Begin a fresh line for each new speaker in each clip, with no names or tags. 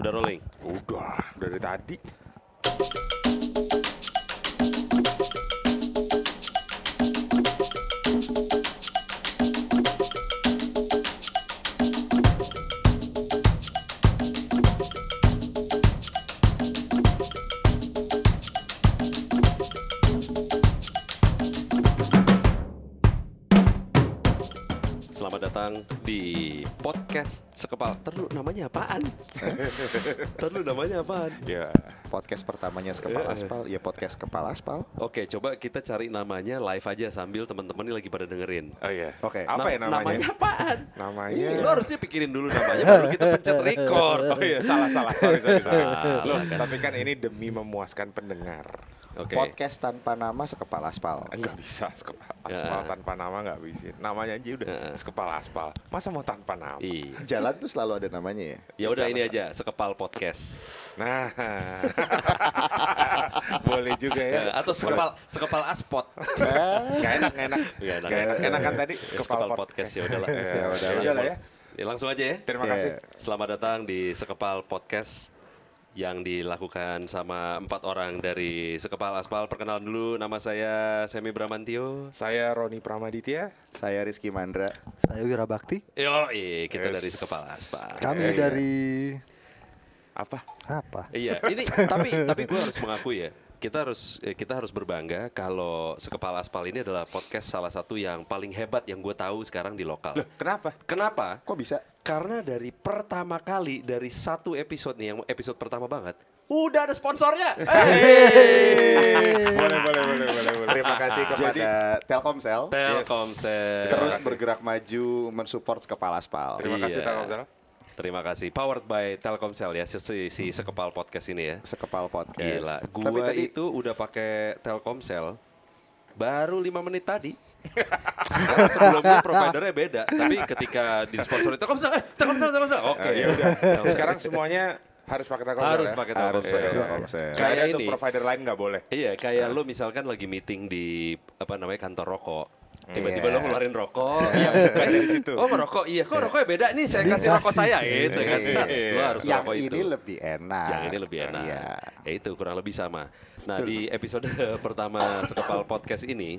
Udah rolling.
Udah, dari tadi.
Selamat datang di podcast sekepal. Terlu namanya apaan? Terlu namanya apaan?
Ya,
podcast pertamanya Kepala Aspal, ya podcast Kepala Aspal.
Eh, Oke, coba kita cari namanya live aja sambil teman-teman ini lagi pada dengerin.
oh iya.
Oke.
Apa ya
Nam-
namanya? Iya.
Namanya apaan?
Namanya.
Lo harusnya pikirin dulu namanya baru kita pencet record.
Oh iya, salah salah. Sorry, sorry, sorry.
Salah,
Loh,
kan.
tapi kan ini demi memuaskan pendengar.
Oke.
Podcast tanpa nama sekepala Aspal. Iya.
Enggak bisa sekepala aspal
Ya.
tanpa nama enggak bisa. Namanya aja udah sekepala aspal. Masa mau tanpa nama?
Iya.
Jalan tuh selalu ada namanya ya.
Ya udah ini aja sekepal podcast.
Nah. Boleh juga
Eh,
ya.
Atau sekepal sekepal aspot.
Gak enak, gak enak.
Iya, enak.
Gak enak, enak kan tadi
Sekepal podcast ya udahlah.
Ya udah
Ya,
ya. udahlah ya.
Ya langsung aja ya.
Terima
Ya.
kasih.
Selamat datang di Sekepal Podcast yang dilakukan sama empat orang dari Sekepal Aspal. Perkenalan dulu, nama saya Semi Bramantio.
Saya Roni Pramaditya.
Saya Rizky Mandra.
Saya Wirabakti.
Yo, kita
Yes.
dari Sekepal Aspal.
Iya,
Kami
iya.
dari
Apa?
apa?
Iya, ini tapi tapi gue harus mengakui ya, kita harus eh, kita harus berbangga kalau Sekepal Aspal ini adalah podcast salah satu yang paling hebat yang gue tahu sekarang di lokal.
Kenapa?
Kenapa?
Kok bisa?
Karena dari pertama kali dari satu episode nih yang episode pertama banget, udah ada sponsornya. Eh.
boleh, boleh, boleh, boleh, boleh.
Iya. Terima kasih kepada Telkomsel
Telkomsel.
terus bergerak maju mensupport Kepala Aspal.
Terima
Iya.
kasih Telkomsel.
Terima kasih. Powered by Telkomsel ya si, si, si sekepal podcast ini ya.
Sekepal podcast.
Gila,
Tapi
gua
tadi
itu udah pakai Telkomsel baru 5 menit tadi. Karena sebelumnya providernya beda, tapi ketika di sponsor Telkomsel, eh, Telkomsel, Telkomsel.
Ah,
Oke.
Eh,
iya.
ya udah. Sekarang semuanya harus pakai Telkomsel.
Harus
ya?
pakai
harus
Telkomsel.
pakai
Iya.
Telkomsel.
Nggak ada
Kayak
tuh
ini.
provider lain nggak boleh.
Iya,
Ah.
kayak lo misalkan lagi meeting di apa namanya kantor rokok.
Iya.
Tiba-tiba lo ngeluarin rokok. Iya, bukan
dari situ.
Oh, merokok. Iya, kok rokoknya beda nih. Saya kasih rokok
Dikasih.
saya gitu kan.
Iya.
Sat, Lo harus
Yang
merokok itu.
ini lebih enak.
Yang ini lebih enak.
Iya.
Ya itu kurang lebih sama. Nah, di episode pertama Sekepal Podcast ini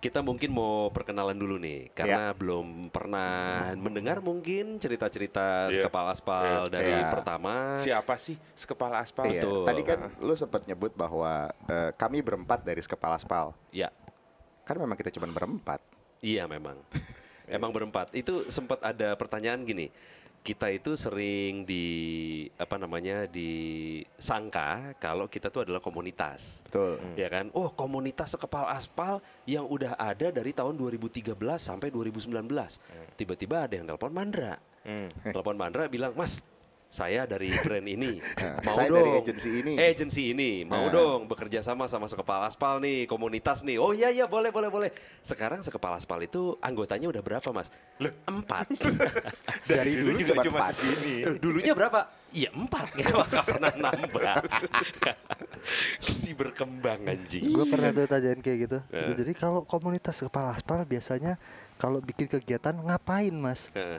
kita mungkin mau perkenalan dulu nih
Ya.
karena belum pernah mendengar mungkin cerita-cerita
Iya.
Sekepal Aspal dari
Iya.
pertama.
Siapa sih sekepala aspal?
Iya.
Betul.
Tadi kan lu sempat nyebut bahwa eh, kami berempat dari Kepala Aspal.
Ya.
Kan memang kita cuma berempat.
Iya memang. Emang berempat. Itu sempat ada pertanyaan gini. Kita itu sering di apa namanya disangka kalau kita tuh adalah komunitas.
Betul.
Ya kan? Oh, komunitas sekepal aspal yang udah ada dari tahun 2013 sampai 2019.
Hmm.
Tiba-tiba ada yang telepon Mandra.
Hmm.
Telepon Mandra bilang, "Mas, saya dari brand ini, mau
saya
dong.
dari agensi ini." Hmm.
Agensi ini, mau dong bekerja sama sama sekepal aspal nih, komunitas nih. Oh iya iya, boleh boleh boleh. Sekarang sekepal aspal itu anggotanya udah berapa, Mas? Empat.
Dari dulu
juga
cuma
cuma
empat.
segini.
Dulunya berapa? Iya empat, nggak nggak pernah nambah. si berkembang
Iya,
anjing.
Gue pernah tuh tanyain kayak gitu. Gitu, Jadi kalau komunitas kepala aspal biasanya kalau bikin kegiatan ngapain mas?
Heeh.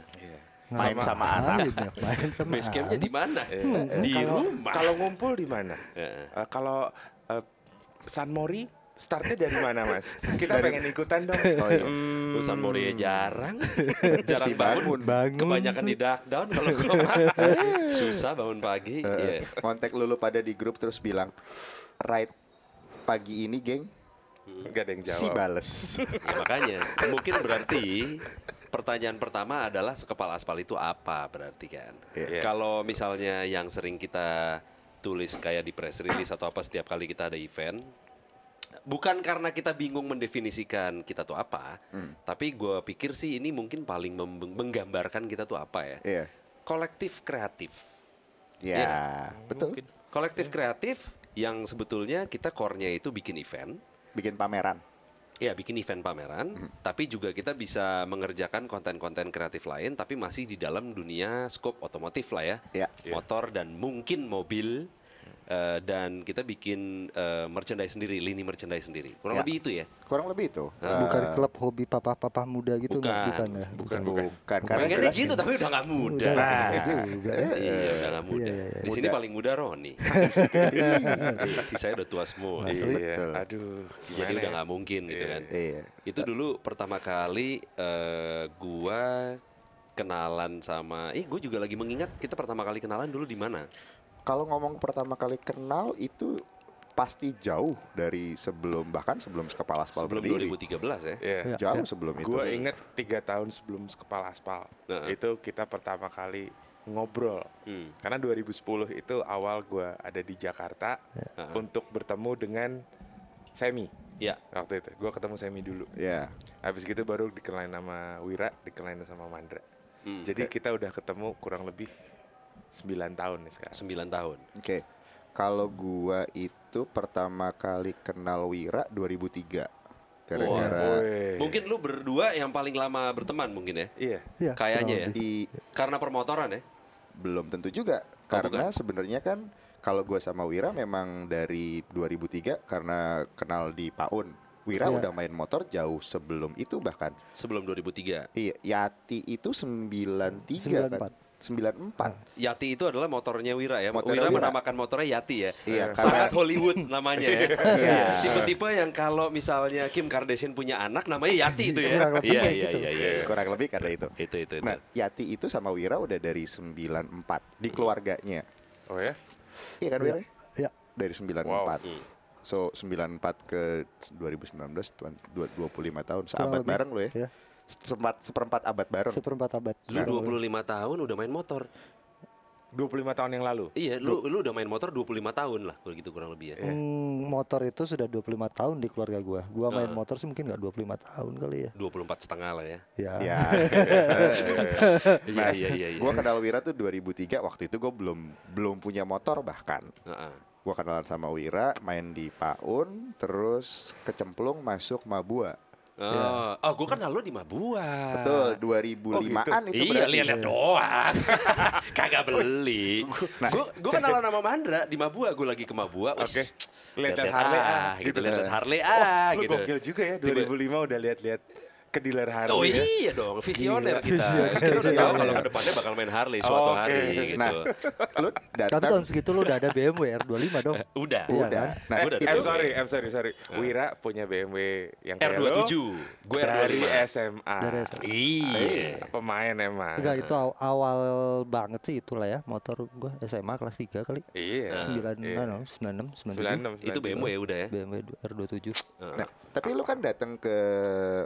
Main sama
anak. Main sama
Basecampnya
anak.
di mana?
Iya.
Di
Kalau-
rumah.
Kalau ngumpul di mana?
Iya.
Eh, kalau eh, San Mori startnya dari mana mas? Kita pengen ikutan dong.
Oh, iya.
Lu San Mori jarang, jarang
Si
bangun.
bangun.
Kebanyakan di dark down kalau gua mah. Susah bangun pagi. Iya.
kontak lulu pada di grup terus bilang right pagi ini geng
Gak ada yang jawab.
si bales
Ya, makanya mungkin berarti pertanyaan pertama adalah sekepal aspal itu apa berarti kan?
Iya.
Kalau misalnya yang sering kita tulis kayak di press release atau apa setiap kali kita ada event, bukan karena kita bingung mendefinisikan kita tuh apa,
Hmm.
tapi gue pikir sih ini mungkin paling mem- menggambarkan kita tuh apa ya?
Iya.
Kolektif kreatif.
ya
Iya.
betul Hmm.
Kolektif kreatif yang sebetulnya kita core-nya itu bikin event,
bikin pameran
Ya bikin event pameran, tapi juga kita bisa mengerjakan konten-konten kreatif lain, tapi masih di dalam dunia scope otomotif lah ya,
Iya.
motor dan mungkin mobil Eh, dan kita bikin eh, merchandise sendiri, lini merchandise sendiri. Kurang
Ya.
lebih itu ya.
Kurang lebih itu.
Bukan
Eh,
klub hobi papa-papa muda gitu nggak?
Ah. Bukan.
Bukan ya.
Bukan, bukan.
Bukan. Karena
Pengennya
jelas-
gitu tapi udah nggak muda. Nah.
Udah juga ya.
Iya, udah nggak muda.
Iya, iya, iya.
Di sini
Muda.
paling muda Roni. Sisanya udah tua semua.
Asli.
Iya.
Betul.
Aduh,
Jadi
gimana
udah
ya?
nggak mungkin gitu kan.
Iya.
Itu dulu pertama kali eh, gua kenalan sama eh gue juga lagi mengingat kita pertama kali kenalan dulu di mana?
Kalau ngomong pertama kali kenal itu pasti jauh dari sebelum bahkan sebelum kepala aspal
Sebelum
berdiri.
2013 ya.
Iya.
Ya.
Jauh sebelum itu.
Gue inget tiga tahun sebelum kepala aspal
Heeh.
itu kita pertama kali ngobrol
Hmm.
karena 2010 itu awal gue ada di Jakarta
Heeh.
untuk bertemu dengan Semi
Ya.
waktu itu gue ketemu Semi dulu
Ya.
habis gitu baru dikenalin sama Wira dikenalin sama Mandra
Hmm.
jadi kita udah ketemu kurang lebih 9 tahun nih sekarang
9 tahun.
Oke. Kalau gua itu pertama kali kenal Wira 2003. Gara-gara
Woi.
Mungkin lu berdua yang paling lama berteman mungkin ya.
iya
Iya,
Kayaknya
kurang
ya.
lebih.
di
Karena permotoran ya.
belum tentu
Oh,
juga karena sebenarnya kan kalau gua sama Wira memang dari 2003 karena kenal di Paun. Wira
Iya.
udah main motor jauh sebelum itu bahkan.
Sebelum 2003.
Iya, Yati itu 93 kan. 94.
Yati itu adalah motornya Wira ya.
Motornya
Wira,
Wira.
menamakan motornya Yati ya.
Iya,
Sangat
karena-
Hollywood namanya ya.
Iya.
Tipe-tipe yang kalau misalnya Kim Kardashian punya anak namanya Yati itu ya.
Kurang lebih
Iya
kayak
iya
gitu.
iya iya.
Iya, kurang lebih karena itu.
Itu itu itu.
Nah, Yati itu sama Wira udah dari 94 di keluarganya.
oh ya
Iya kan Wira?
Ya,
Dari 94.
iya.
So 94 ke 2019 tuan- dua- 25 tahun seabad
lebih.
bareng lo ya.
Iya.
Seperempat seperempat abad bareng.
seperempat abad.
Lu 25 tahun udah main motor.
25 tahun yang lalu
Iya, lu lu udah main motor 25 tahun lah, kalau gitu kurang lebih ya.
Hmm, motor itu sudah 25 tahun di keluarga gua. Gua main motor sih mungkin nggak 25 tahun kali ya.
24 setengah lah ya.
Ya.
Ya.
Iya iya iya iya.
gua kenal Wira tuh 2003 waktu itu gue belum belum punya motor bahkan.
Heeh.
Gua kenalan sama Wira main di Paun terus kecemplung masuk Mabua.
Oh, oh gue kenal lu di Mabua.
Betul, 2005-an
Ah.
itu
iya,
berarti.
lihat-lihat doang. Kagak beli. Gue gue kenalan sama Mandra di Mabua, gue lagi ke Mabua. wes,
Oke. Lihat-lihat
lihat-lihat
Harley
ah,
ah,
gitu,
gitu.
lihat-lihat Harley ah,
lu
gitu.
gokil juga ya
Tiba-
2005 udah lihat-lihat ke dealer Harley
Oh
ya.
iya dong, visioner kita. Kita udah tahu kalau ke depannya bakal main Harley suatu
Oke.
hari gitu.
Nah, lu
Tapi tahun
datang
segitu lu udah ada BMW R25 dong.
udah.
udah. Nah,
Eh,
Gua udah
I'm
tahu.
sorry, I'm sorry, sorry. Wira punya BMW yang kayak lo,
R27, gue
dari
R25.
SMA.
Dari SMA.
Iya.
Pemain
kan.
emang.
Enggak itu aw- awal banget sih itulah ya motor gua SMA kelas 3 kali.
Iya.
9
Iya.
no, 96
96.
97.
Itu BMW ya udah ya.
BMW R27.
Eh,
Nah, tapi lu kan datang ke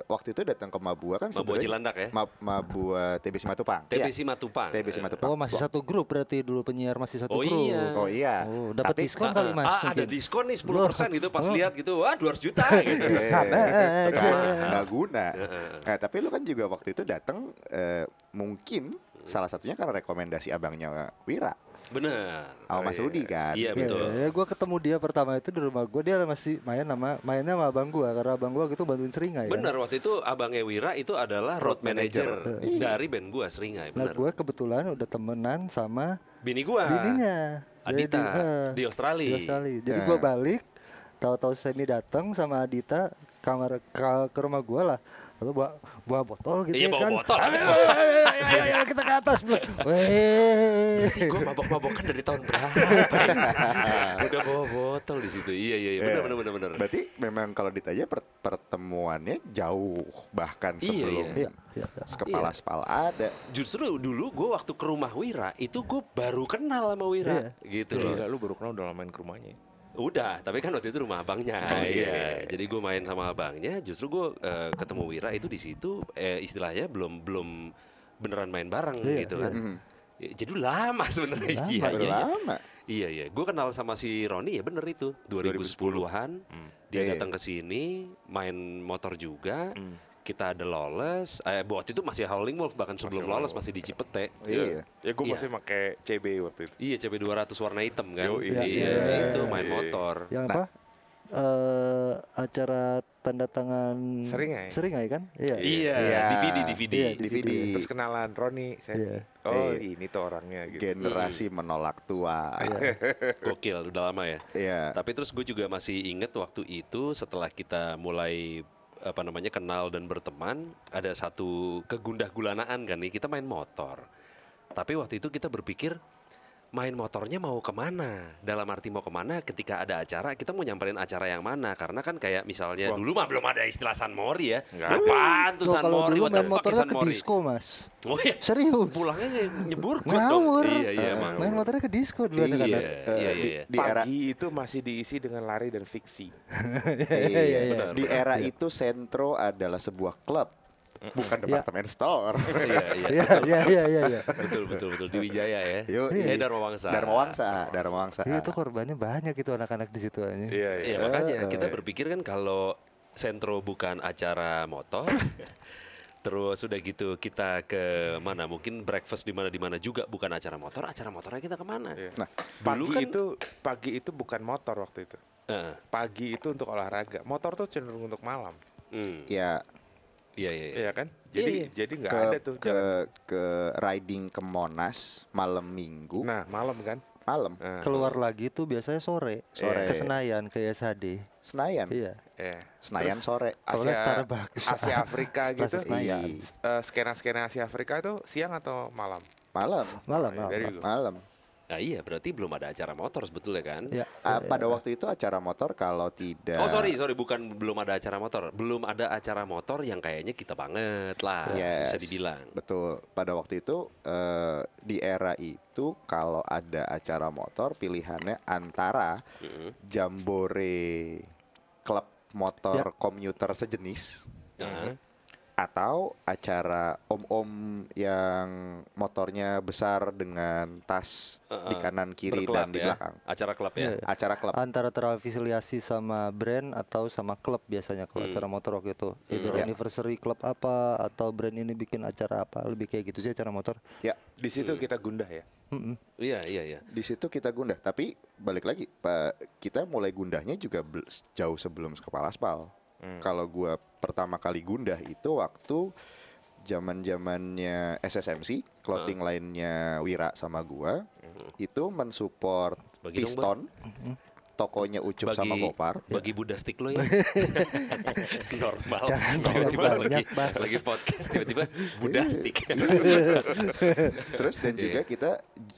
waktu itu datang ke Mabua kan
Mabua
sebenarnya-
Cilandak ya?
Ma- Mabua TBC Matupang. Iya,
TBC Matupang. Eh.
TBC Matupang.
Oh masih satu grup berarti dulu penyiar masih satu
Oh,
grup.
iya.
Oh iya.
Oh, dapat
Tapi-
Ah,
diskon kali Mas.
ah, ada
mungkin.
diskon nih 10% gitu pas lihat gitu. Wah, 200 juta gitu.
Di sana
Eh,
aja.
nggak guna.
Eh,
Nah, tapi lu kan juga waktu itu datang eh, mungkin salah satunya karena rekomendasi abangnya Wira
Bener.
sama Mas Rudi kan.
Iya
Iya,
betul.
ya, gue ketemu dia pertama itu di rumah gue dia masih main sama mainnya sama abang gue karena abang gue gitu bantuin seringai. ya.
Bener waktu itu abangnya Wira itu adalah road manager dari band gua Seringai.
Nah
Bener.
gue kebetulan udah temenan sama
Bini gua.
bininya. Jadi
Adita,
eh,
di Australia. Nah.
di Australia. Jadi gue balik, tahu-tahu Semi datang sama Adita kamar ke, ke rumah gue lah. Lalu bawa, bawa botol gitu
Iya,
ya
bawa
kan.
botol,
Ayo,
habis
ayo, ayo, ayo, ayo, ayo, kita ke atas. Blek. Weh.
Ih, gua mabok-mabokan dari tahun berapa? ya? Udah bawa botol di situ. Iya iya iya. Bener bener bener bener.
Berarti memang kalau ditanya per- pertemuannya jauh bahkan
Iya,
sebelum
Iya, iya, iya.
kepala spal ada.
Justru dulu gue waktu ke rumah Wira itu gue baru kenal sama Wira gitu loh.
Gila, lu baru kenal udah lamain ke rumahnya. ya?
Udah, tapi kan waktu itu rumah abangnya. Iya. Jadi gue main sama abangnya, justru gue ketemu Wira itu di situ eh, istilahnya belum belum beneran main bareng gitu kan. Ya, Jadi lama sebenarnya. Iya,
Baru
iya, iya.
lama.
Iya, iya. Gue kenal sama si Roni ya bener itu 2010-an. Dia
Iya, iya.
datang ke sini, main motor juga. Kita ada lolos. Eh, waktu itu masih Howling Wolf bahkan sebelum lolos masih di Cipete.
Iya.
Ya gue
Iya.
masih pakai CB waktu itu.
Iya, CB 200 warna hitam kan.
Yoi.
iya,
Iya.
Nah. itu main motor.
Yang apa? Eh acara tanda tangan
Sering nggak ya?
sering nggak ya kan iya
Iya,
Iya.
DVD DVD.
Iya,
DVD.
Gitu, Terus kenalan Roni,
Iya.
saya. Oh,
Iya.
ini tuh orangnya gitu.
Generasi
Hmm.
menolak tua.
Gokil udah lama ya.
Iya.
Tapi terus gue juga masih inget waktu itu setelah kita mulai apa namanya kenal dan berteman ada satu kegundah gulanaan kan nih kita main motor. Tapi waktu itu kita berpikir main motornya mau kemana? Dalam arti mau kemana? Ketika ada acara kita mau nyamperin acara yang mana? Karena kan kayak misalnya dulu mah belum ada istilah San Mori ya. Apaan tuh
Iya, Tuh,
San
kalau
Mori?
dulu
What the
main
fuck is
motornya
San
ke
Mori?
disco mas
Oh iya.
serius
Pulangnya nyebur
ngawur
Iya iya emang.
main motornya ke disco dulu
Iya,
anak-anak
iya,
kan ya? Eh, di,
iya.
di era
Pagi itu masih diisi dengan lari dan fiksi.
iya,
iya, iya.
di era itu Sentro adalah sebuah klub bukan departemen store.
Iya iya.
iya iya iya iya iya.
betul betul betul di Wijaya ya.
Yoi.
Eh Dharma Wangsa.
iya. Dharma Wangsa, Dharma Wangsa.
Iya, itu korbannya banyak itu anak-anak di situ aja
Iya makanya
Eh.
kita berpikir kan kalau sentro bukan acara motor. Terus sudah gitu kita ke mana? Mungkin breakfast di mana di mana juga bukan acara motor. Acara motornya kita kemana?
Nah,
Dulu
Pagi
kan-
itu pagi itu bukan motor waktu itu.
Eh,
Pagi itu untuk olahraga. Motor tuh cenderung untuk malam.
hmm,
ya
Iya iya. iya.
Iya kan? Jadi
Iya, iya.
jadi nggak
ke
ada tuh
ke
jalan.
ke riding ke Monas malam Minggu
Nah, malam kan?
malam
Nah,
keluar lagi tuh biasanya sore
Sore.
ke Senayan ke SHD
Senayan.
iya
iya.
Senayan sore.
Kalau nggak Starbucks.
Asia Afrika gitu.
Plaza Senayan.
Iya.
Eh, skena-skena Asia Afrika tuh siang atau malam?
Malam.
malam
Iya,
malam
dari-
Malam.
Nah, iya berarti belum ada acara motor sebetulnya kan?
ya
Ah, pada waktu itu acara motor kalau tidak
Oh sorry sorry bukan belum ada acara motor, belum ada acara motor yang kayaknya kita banget lah Ah,
Yes,
bisa dibilang.
Betul. Pada waktu itu eh, di era itu kalau ada acara motor pilihannya antara jambore klub motor komuter sejenis
Nah,
atau acara om-om yang motornya besar dengan tas di kanan kiri
berklub
dan di
ya.
belakang. Iya.
Acara klub ya.
Acara klub.
antara terafiliasi sama brand atau sama klub biasanya kalau
Hmm.
acara motor waktu itu either
iya.
Ya.
anniversary klub apa atau brand ini bikin acara apa lebih kayak gitu sih acara motor
Ya,
Di situ
Hmm.
kita gundah ya.
Iya iya iya.
di situ kita gundah. Tapi balik lagi, Pak, kita mulai gundahnya juga bel- jauh sebelum kepala aspal.
Hmm.
Kalau gua pertama kali gundah itu waktu zaman-zamannya SSMC, clothing lainnya Wira sama gua, itu mensupport
Hmm. Bagi dong,
Piston, tokonya Ucup sama Gopar. Iya.
Bagi Buddha stick lo ya. Normal.
Jangan
tiba-tiba
banyak
lagi,
bahas.
lagi podcast tiba-tiba Buddha
Iya.
stick.
Terus dan
Iya.
juga kita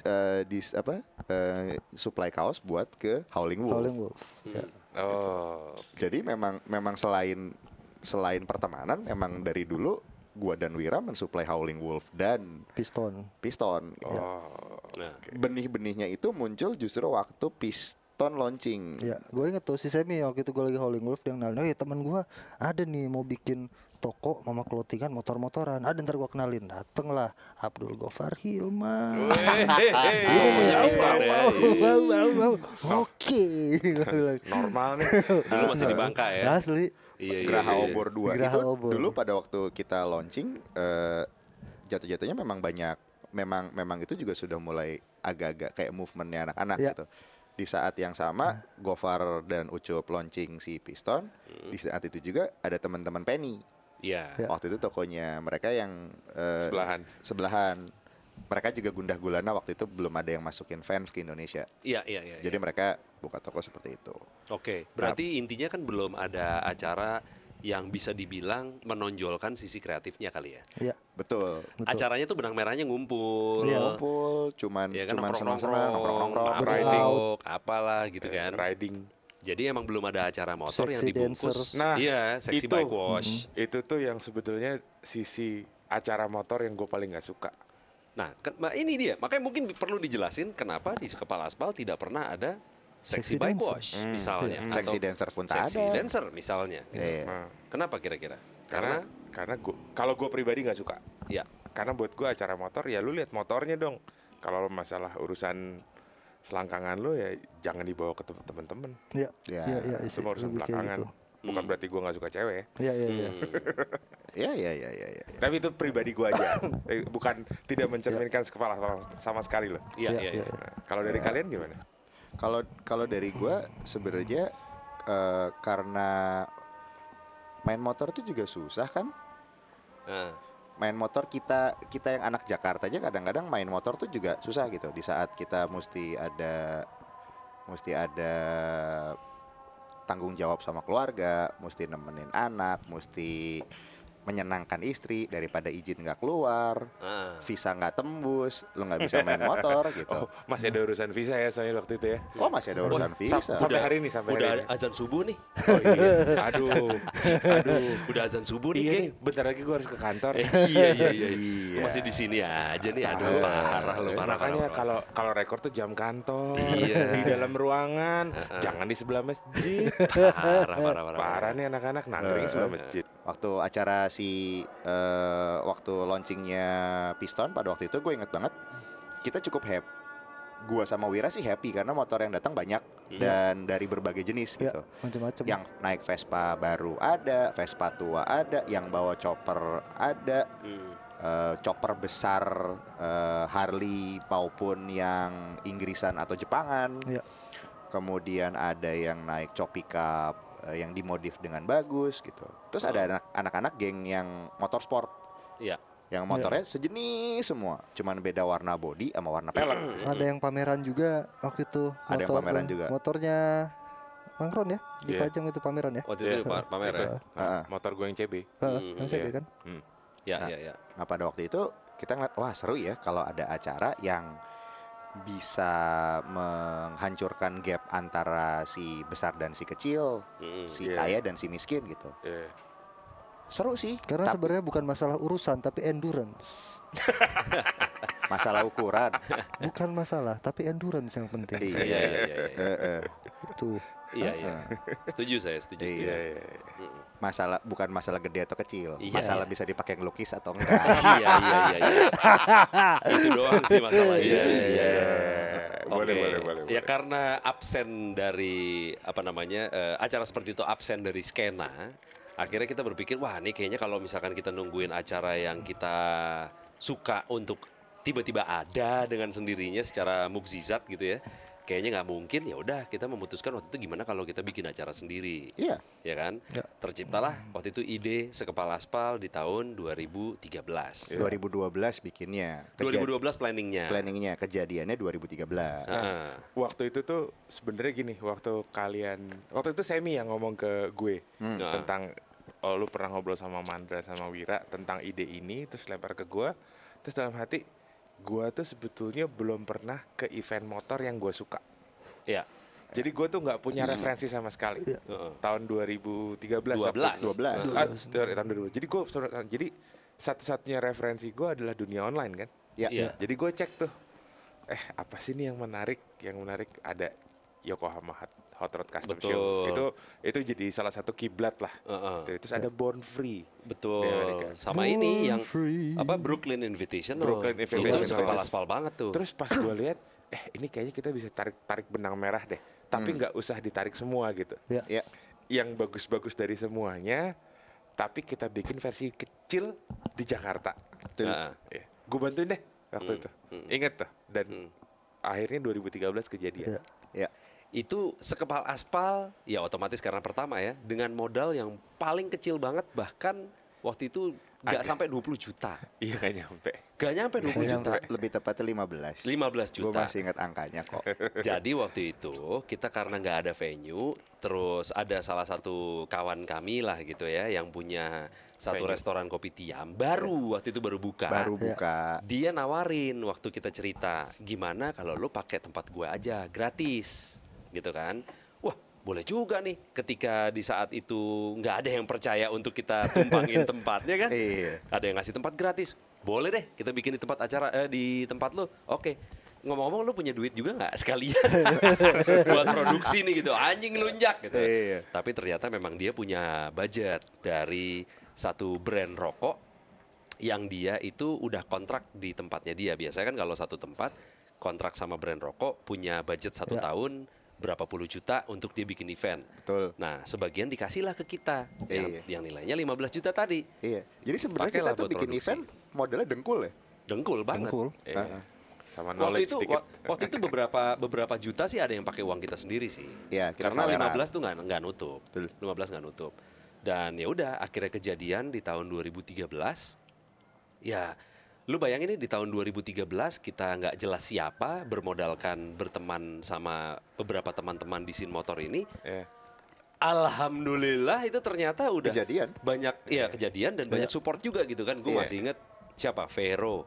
eh, dis apa eh, supply kaos buat ke Howling Wolf.
Howling Wolf
Hmm.
ya.
Oh,
Jadi memang memang selain selain pertemanan memang dari dulu gua dan Wira mensuplai Howling Wolf dan
piston
Piston. Iya.
oh.
Nah,
Benih-benihnya itu muncul justru waktu Piston launching.
Iya,
ya gue inget tuh si Semi waktu itu gue lagi Howling Wolf yang nalin eh temen gue ada nih mau bikin toko mama clothingan motor-motoran ada ntar gue kenalin dateng lah Abdul Gofar Hilman
ini nih
Iya,
Piston ya.
Wow, wow, wow, wow. Oke. Gua bilang,
Normal
Eh.
nih.
Dulu masih di Bangka ya.
Asli.
Iya iya.
Geraha
iya.
Obor 2
Geraha
itu
Obor.
dulu pada waktu kita launching eh, jatuh-jatuhnya memang banyak memang memang itu juga sudah mulai agak-agak kayak movementnya anak-anak
Iya.
Ya.
gitu. Di saat yang sama Gofar dan Ucup launching si Piston, di saat itu juga ada teman-teman Penny.
Iya.
Waktu itu tokonya mereka yang eh,
Sebelahan.
Sebelahan. Mereka juga gundah gulana waktu itu belum ada yang masukin fans ke Indonesia.
Iya iya iya.
Jadi mereka buka toko seperti itu.
Oke, berarti intinya kan belum ada acara yang bisa dibilang menonjolkan sisi kreatifnya kali ya.
Ya.
Betul. Iya,
Acaranya tuh benang merahnya ngumpul.
Ngumpul, cuman
Ya kan
cuman senang-senang
nongkrong-nongkrong,
nongkrong-nongkrong. Iya.
riding, apalah gitu kan.
Riding.
Jadi emang belum ada acara motor yang
Sexy
dibungkus.
dancers.
Nah,
iya, sexy
itu. Hmm.
bike wash.
Itu tuh yang sebetulnya sisi acara motor yang gue paling nggak suka.
Nah, ken- ma- ini dia. Makanya mungkin perlu dijelasin kenapa di kepala aspal tidak pernah ada sexy
Sexy
bike
dancer.
wash misalnya.
Hmm.
Atau
Sexy dancer pun tak
sexy
ada.
dancer misalnya. gitu.
Iya.
Nah,
Kenapa kira-kira?
karena
Karena,
karena gua, kalau gue pribadi nggak suka.
ya
Karena buat gue acara motor ya lu lihat motornya dong. Kalau masalah urusan selangkangan lu ya jangan dibawa ke tem- temen-temen.
Ya.
Ya,
Ya, ya,
Semua urusan
lebih kayak
belakangan.
gitu.
Hmm.
Bukan berarti gue nggak suka cewek. ya.
Ya, ya, ya.
Ya ya ya ya ya.
Tapi itu pribadi gue aja. Eh, Bukan tidak mencerminkan kepala sama- sama sekali loh.
iya
Ya,
iya
ya,
iya.
ya.
Nah, Kalau dari kalian gimana?
Kalau kalau dari gua sebenarnya eh, karena main motor tuh juga susah kan
Nah,
main motor kita kita yang anak Jakarta aja kadang-kadang main motor tuh juga susah gitu di saat kita mesti ada mesti ada tanggung jawab sama keluarga, mesti nemenin anak, mesti menyenangkan istri daripada izin nggak keluar,
ah.
visa nggak tembus, lu nggak bisa main motor gitu.
Oh, masih ada urusan visa ya soalnya waktu itu ya.
Oh masih ada urusan
Sa-
visa.
Sampai hari ini, sampai
udah
hari ini.
azan subuh nih.
Oh iya. Aduh. Aduh.
Udah azan subuh nih,
Iya
geng.
nih, bentar lagi gua harus ke kantor.
Eh, iya iya iya.
Iya.
Lu Masih di sini aja nih. Aduh parah lu
Tahu.
parah parah.
Iya. Makanya
parah.
kalau kalau rekor tuh jam kantor,
Iya.
di dalam ruangan, jangan di sebelah masjid.
parah parah parah.
Parah nih anak-anak nangkring sebelah masjid.
Waktu acara si eh, waktu launchingnya Piston pada waktu itu gue inget banget kita cukup happy. Gua sama Wira sih happy karena motor yang datang banyak dan dari berbagai jenis
ya
gitu.
macam-macam
Yang naik Vespa baru ada, Vespa tua ada, yang bawa chopper ada,
Hmm.
eh, chopper besar eh, Harley maupun yang Inggrisan atau Jepangan.
Iya.
Kemudian ada yang naik chop pickup eh, yang dimodif dengan bagus gitu. Terus ada anak- anak-anak geng yang motor sport
Iya.
yang motornya sejenis semua, cuman beda warna body sama warna pelek.
ada yang pameran juga waktu itu
Ada yang
motor
pameran
tuh.
juga.
motornya Mangkron ya di
Iya.
Pajang itu pameran ya
Waktu itu
Iya.
pa- pamer ya.
Heeh.
Motor gue yang CB.
Heeh,
Hmm,
yang saya
iya.
kan
Hmm.
Ya
Nah.
ya ya.
Nah pada waktu itu kita ngeliat wah seru ya kalau ada acara yang bisa menghancurkan gap antara si besar dan si kecil,
Hmm.
si
Iya.
kaya dan si miskin gitu.
Iya.
Seru sih.
karena
tapi
sebenarnya bukan masalah urusan tapi endurance
masalah ukuran.
bukan masalah tapi endurance yang penting
Iya.
Iya iya iya. iya.
Heeh.
itu
Iya iya. Setuju saya, setuju. setuju.
Nah. Iya, iya, iya.
masalah bukan masalah gede atau kecil,
ya. Iya.
masalah bisa dipakai ngelukis atau enggak.
Iya iya iya. iya. Itu doang sih masalahnya.
Iya, iya, iya.
Oke.
Boleh, boleh, boleh.
Ya
boleh.
karena absen dari apa namanya eh, acara seperti itu absen dari skena, akhirnya kita berpikir wah ini kayaknya kalau misalkan kita nungguin acara yang kita suka untuk tiba-tiba ada dengan sendirinya secara mukjizat gitu ya. Kayaknya nggak mungkin ya udah kita memutuskan waktu itu gimana kalau kita bikin acara sendiri.
Iya.
Ya kan? Terciptalah waktu itu ide sekepala aspal di tahun 2013.
Iya.
2012 bikinnya. Kejadian-
2012 planningnya.
planningnya kejadiannya 2013.
Ah,
Waktu itu tuh sebenarnya gini, waktu kalian, waktu itu Semi yang ngomong ke gue
Nah.
tentang oh lu pernah ngobrol sama Mandra sama Wira tentang ide ini, terus lempar ke gue, terus dalam hati gue tuh sebetulnya belum pernah ke event motor yang gue suka.
ya.
Jadi gue tuh nggak punya referensi sama sekali.
Heeh.
Tahun 2013. apa?
12.
12.
Ah, sorry, tahun 2012. Jadi gue jadi satu-satunya referensi gue adalah dunia online kan.
Ya.
Iya.
Jadi gue cek tuh, eh apa sih nih yang menarik? Yang menarik ada Yokohama Hot, Hot Rod Custom Show.
Betul.
Itu itu jadi salah satu kiblat lah.
Heeh.
Terus ada Born Free.
Betul.
di Amerika.
Sama ini yang
free.
apa Brooklyn Invitation.
Brooklyn Invitational.
Itu kepala aspal banget tuh.
Terus pas gue lihat, eh ini kayaknya kita bisa tarik tarik benang merah deh.
Hmm.
Tapi nggak usah ditarik semua gitu.
ya
Ya.
Yang bagus-bagus dari semuanya, tapi kita bikin versi kecil di Jakarta.
Betul.
Ah,
Gue bantuin deh
Hmm.
waktu itu. Ingat tuh. Dan akhirnya 2013 kejadian.
Iya.
Ya.
itu sekepal aspal ya otomatis karena pertama ya dengan modal yang paling kecil banget bahkan waktu itu nggak sampai 20 juta.
Iya nggak nyampe.
Gak nyampe 20
Yang
juta.
lebih tepatnya
15
15.
juta. Ah.
Gue masih ingat angkanya kok.
Jadi waktu itu kita karena nggak ada venue, terus ada salah satu kawan kami lah gitu ya yang punya satu restoran kopi tiam baru waktu itu baru buka.
Baru buka.
Dia nawarin waktu kita cerita, gimana kalau lu pakai tempat gue aja gratis, gitu kan? Wah boleh juga nih. Ketika di saat itu nggak ada yang percaya untuk kita tumpangin tempatnya kan?
Iya.
Ada yang ngasih tempat gratis, boleh deh kita bikin di tempat acara eh, di tempat lu. Oke. Ngomong-ngomong lu punya duit juga nggak sekalian buat produksi nih gitu anjing lunjak gitu.
Iya.
Tapi ternyata memang dia punya budget dari satu brand rokok yang dia itu udah kontrak di tempatnya dia. Biasanya kan kalau satu tempat kontrak sama brand rokok punya budget satu
Ya.
tahun berapa puluh juta untuk dia bikin event.
Betul.
Nah, sebagian dikasihlah ke kita yang,
Iya.
yang nilainya 15 juta tadi.
Iya. Jadi sebenarnya
Pakailah
kita tuh
buat
bikin
produksi. Iya.
event modelnya dengkul ya.
Dengkul banget.
cool
Eh, Sama
Waktu
knowledge Eh,
itu
sedikit.
wa- waktu itu beberapa beberapa juta sih ada yang pakai uang kita sendiri sih.
Iya, kita
Karena
selera.
15 tuh nggak nggak nutup.
Betul.
15 nggak nutup. Dan ya udah akhirnya kejadian di tahun 2013. Ya, lu bayangin nih di tahun 2013 kita nggak jelas siapa bermodalkan berteman sama beberapa teman-teman di sin motor ini.
Iya.
Alhamdulillah itu ternyata udah
Kejadian.
banyak ya kejadian dan banyak support juga gitu kan. Gue
Iya.
masih inget siapa Vero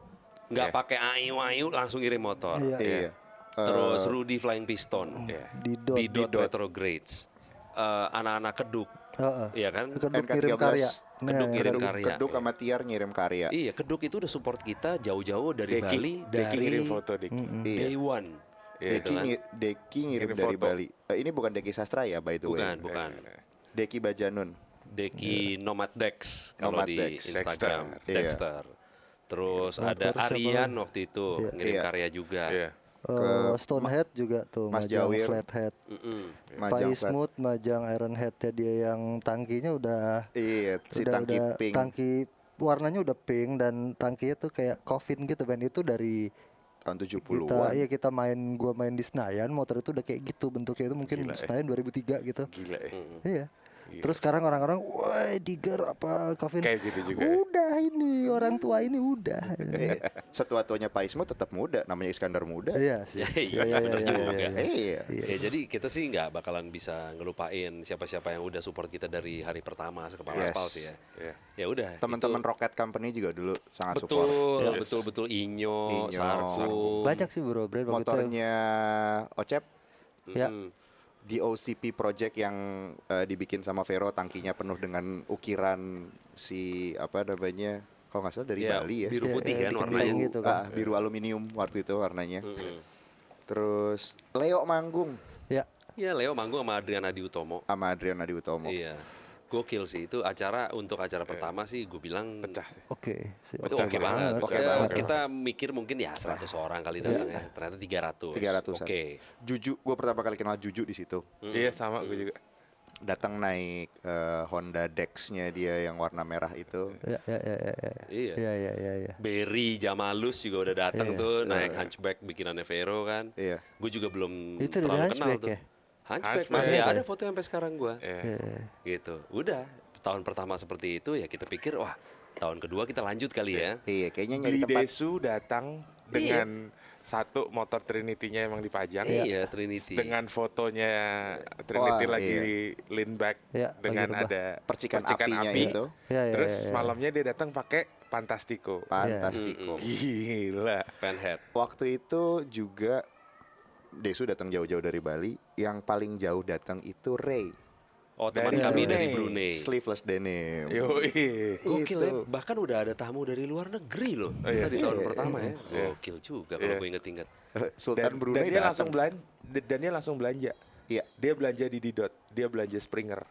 nggak
Iya.
pakai ayu ayu langsung ngirim motor.
Iya.
Iya.
Terus Rudy Flying Piston.
Iya.
Didot.
Di Dot Retrogrades. Eh, anak-anak keduk.
Heeh.
Iya kan?
Keduk
NK13.
kirim karya.
Keduk
Iya,
kirim
Keduk,
karya.
keduk sama Tiar ngirim karya.
Iya, keduk itu udah support kita jauh-jauh dari
Deki.
Bali
Deki
dari
ngirim foto Deki.
Mm.
Day One.
Iya,
Deki, ngi- Deki ngirim
Ngirim
dari
foto.
Bali. Eh, ini bukan Deki Sastra ya by the way.
Bukan, bukan.
Deki Bajanun.
Deki Nomad Dex kalau
Nomad
di
Dex.
Instagram,
Dexter. Iya.
Dexter. Terus
Nomad
ada
Dex siapa
Arian
lagi?
waktu itu
Iya.
ngirim
Iya.
karya juga.
Iya.
Eh, Stonehead juga tuh.
Mas
Majang
Jawir.
Flathead.
Mm-mm.
Majang
Pai
Flat.
Smooth, Majang Ironhead ya dia yang tangkinya udah
Iya, si
udah,
Tangki
udah
Pink.
tangki warnanya udah pink dan tangkinya tuh kayak coffin gitu band itu dari
tahun
kita
70-an.
iya kita main gua main di Senayan motor itu udah kayak gitu bentuknya itu mungkin
Gila, eh.
Senayan 2003 gitu
Gila ya.
iya terus sekarang orang-orang wah Digger apa coffin
Kayak gitu juga.
udah
Iya.
ini orang tua ini udah Iya,
Eh, Setua-tuanya Pak Ismo tetap muda, namanya Iskandar muda.
iya sih
Iya,
iya iya
bener
iya,
juga.
iya, iya.
Iya.
Ya, jadi kita sih nggak bakalan bisa ngelupain siapa-siapa yang udah support kita dari hari pertama sekepala
Yes.
aspal sih ya.
Iya.
Ya udah.
Teman-teman Rocket Company juga dulu sangat
betul,
support.
betul, betul, Inyo,
Inyo,
Sarkum.
banyak sih bro brand waktu itu.
Motornya Ocep
ya
DOCP project yang eh, dibikin sama Vero tangkinya penuh dengan ukiran si apa namanya kalau nggak salah dari
Ya,
Bali ya
biru
Iya,
putih
iya,
kan
bikin
warnanya.
tank gitu kan.
ah,
eh,
biru aluminium waktu itu warnanya terus Leo manggung
ya
Iya, Leo manggung sama Adriana Adi Utomo.
sama Adrian Adi Utomo
Iya. Gokil sih itu acara untuk acara pertama sih gue bilang
Pecah. sih.
oke sih,
Itu oke banget.
Oke
Ya,
banget.
Kita mikir mungkin ya 100 orang kali datang ya. Ternyata 300.
300-an.
Oke.
Juju gue pertama kali kenal Juju di situ
Iya sama gue juga.
datang naik eh, Honda Dex-nya dia yang warna merah itu
ya ya ya ya ya
Iya.
ya ya ya, ya.
Berry Jamalus juga udah datang
Iya.
tuh naik hunchback bikinannya Vero kan.
Iya.
Gue juga belum
Itu dari
terlalu kenal
Hunchback
tuh.
ya?
Hunchback,
Hunchback.
masih ada foto sampai sekarang gua.
Iya.
Gitu. Udah tahun pertama seperti itu ya kita pikir wah tahun kedua kita lanjut kali ya.
iya kayaknya nyari
Beli
tempat
Desu datang dengan satu motor Trinity-nya emang dipajang.
Iya, Trinity.
Dengan fotonya Trinity
Wah,
lagi
iya.
di lean back
Iya,
dengan
lagi rebah.
ada
Percikan apinya itu.
Iya, iya,
Terus
iya, iya.
malamnya dia datang pakai Fantastico.
Fantastico
Gila.
Penhead.
Waktu itu juga Desu datang jauh-jauh dari Bali. Yang paling jauh datang itu Ray,
Oh teman
Dari
kami dari Brunei.
Brunei.
sleeveless denim.
Yoi.
Gokil ya,
Itu.
bahkan udah ada tamu dari luar negeri loh.
Oh, iya.
Kita di tahun pertama ya. Gokil juga kalau gue inget-inget.
dan,
Sultan
dan
Brunei
dia
datang.
langsung belanja dan dia langsung belanja.
Iya.
Dia belanja di Didot, dia belanja Springer.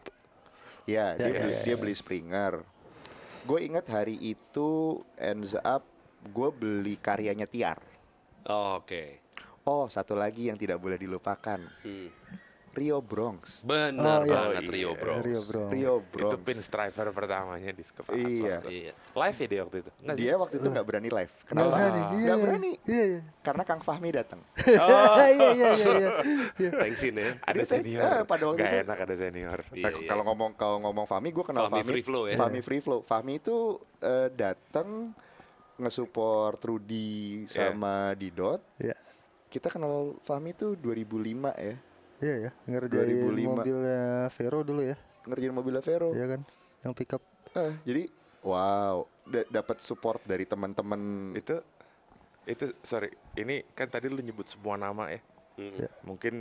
Ya, dia,
Ya,
beli, dia beli Springer. Gue ingat hari itu ends up gue beli karyanya Tiar.
Oh, Oke.
Oh, satu lagi yang tidak boleh dilupakan.
Hmm.
Rio Bronx.
Benar
Oh, iya.
banget Rio bro.
Rio bro
Rio Bronx.
Itu pin striver pertamanya di Skep
Iya.
Asfal.
Iya.
Live ya dia waktu itu. Nggak
Dia waktu itu nggak berani live.
Ah.
Nggak
Kenapa?
berani, iya,
Nggak
iya.
berani.
Iya, iya.
Karena Kang Fahmi datang.
Oh.
iya iya iya iya. iya.
Thanksin ya.
ada
Dia tadi-
senior.
eh, pada waktu
Nggak
itu-
enak ada senior.
Iya,
Nah,
iya.
Kalau ngomong kalau ngomong Fahmi, gue kenal
Fahmi
Fahmi.
Free Flow ya.
Fahmi Free Flow. Fahmi itu eh, datang ngesupport Rudy
Iya.
sama Didot.
Iya.
Kita kenal Fahmi itu 2005 ya.
Iya ya, ngerjain
2005.
mobilnya Vero dulu ya,
Ngerjain mobil Vero.
iya kan? Yang pickup.
Eh, jadi wow, da- dapat support dari teman-teman.
Itu itu sorry, ini kan tadi lu nyebut semua nama ya.
Iya.
Mm-mm.
Mungkin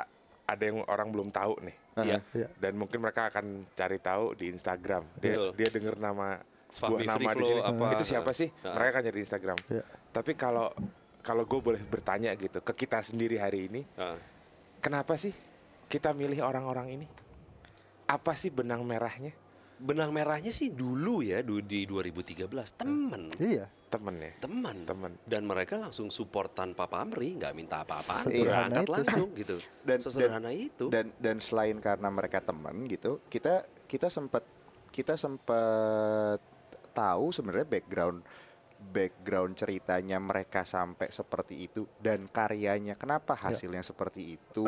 a- ada yang orang belum tahu nih.
Iya.
Iya.
Dan mungkin mereka akan cari tahu di Instagram. Dia,
Betul.
dia dengar nama sebuah
Fahmi
nama
Free
di
Flow
sini.
apa,
Itu siapa
eh,
sih?
eh.
Mereka akan nyari di Instagram.
Iya.
Tapi kalau kalau gue boleh bertanya gitu ke kita sendiri hari ini,
Ah.
kenapa sih kita milih orang-orang ini? Apa sih benang merahnya
Benang merahnya sih dulu ya du- di 2013 temen,
Iya.
temennya?
teman,
Temen.
Dan mereka langsung support tanpa pamrih, nggak minta apa-apa,
Sederhana
berangkat
itu.
langsung gitu.
Dan-
Sesederhana itu.
Dan dan selain karena mereka teman gitu, kita kita sempat kita sempat tahu sebenarnya background background ceritanya mereka sampai seperti itu dan karyanya kenapa hasilnya seperti itu.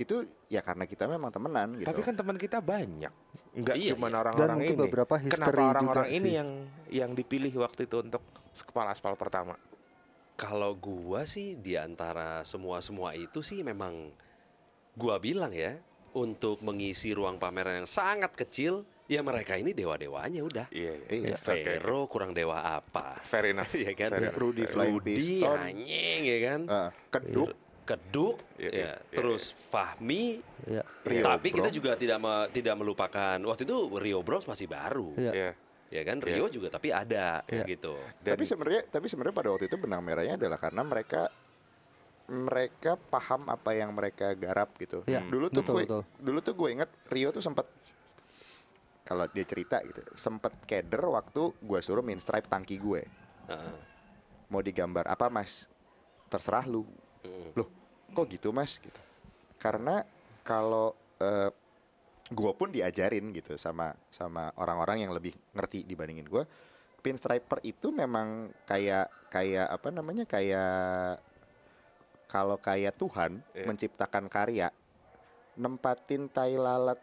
itu ya karena kita memang temenan gitu.
Tapi kan teman kan kita banyak. nggak
Iya,
cuma
iya.
orang-orang
mungkin
ini.
beberapa history
Kenapa
juga
orang-orang ini
sih.
yang yang dipilih waktu itu untuk kepala aspal pertama?
Kalau gua sih di antara semua-semua itu sih memang gua bilang ya untuk mengisi ruang pameran yang sangat kecil ya mereka ini dewa-dewanya udah. Ya,
Iya,
Iya.
Vero kurang dewa apa?
Fair enough.
Iya kan?
Fair enough.
Rudy Flying
Rudy
Piston.
anjing ya kan?
Ah, keduk.
Keduk ya.
Iya, iya, iya,
Terus Fahmi
Iya.
Rio
tapi kita
Bronx.
juga tidak me- tidak melupakan waktu itu Rio Bros masih baru.
Iya.
Iya.
Ya kan Rio juga tapi ada
Iya.
gitu.
Dan
tapi sebenarnya tapi sebenarnya pada waktu itu benang merahnya adalah karena mereka mereka paham apa yang mereka garap gitu.
Iya,
Dulu tuh
betul,
gue
betul.
dulu tuh gue inget Rio tuh sempat kalau dia cerita gitu, sempet keder waktu gue suruh minstripe tangki gue.
Heeh.
Mau digambar apa, Mas? Terserah lu. Loh, kok gitu, Mas? gitu. Karena kalau eh, gue pun diajarin gitu sama sama orang-orang yang lebih ngerti dibandingin gue pinstriper itu memang kayak kayak apa namanya kayak kalau kayak Tuhan
Iya.
menciptakan karya nempatin tai lalat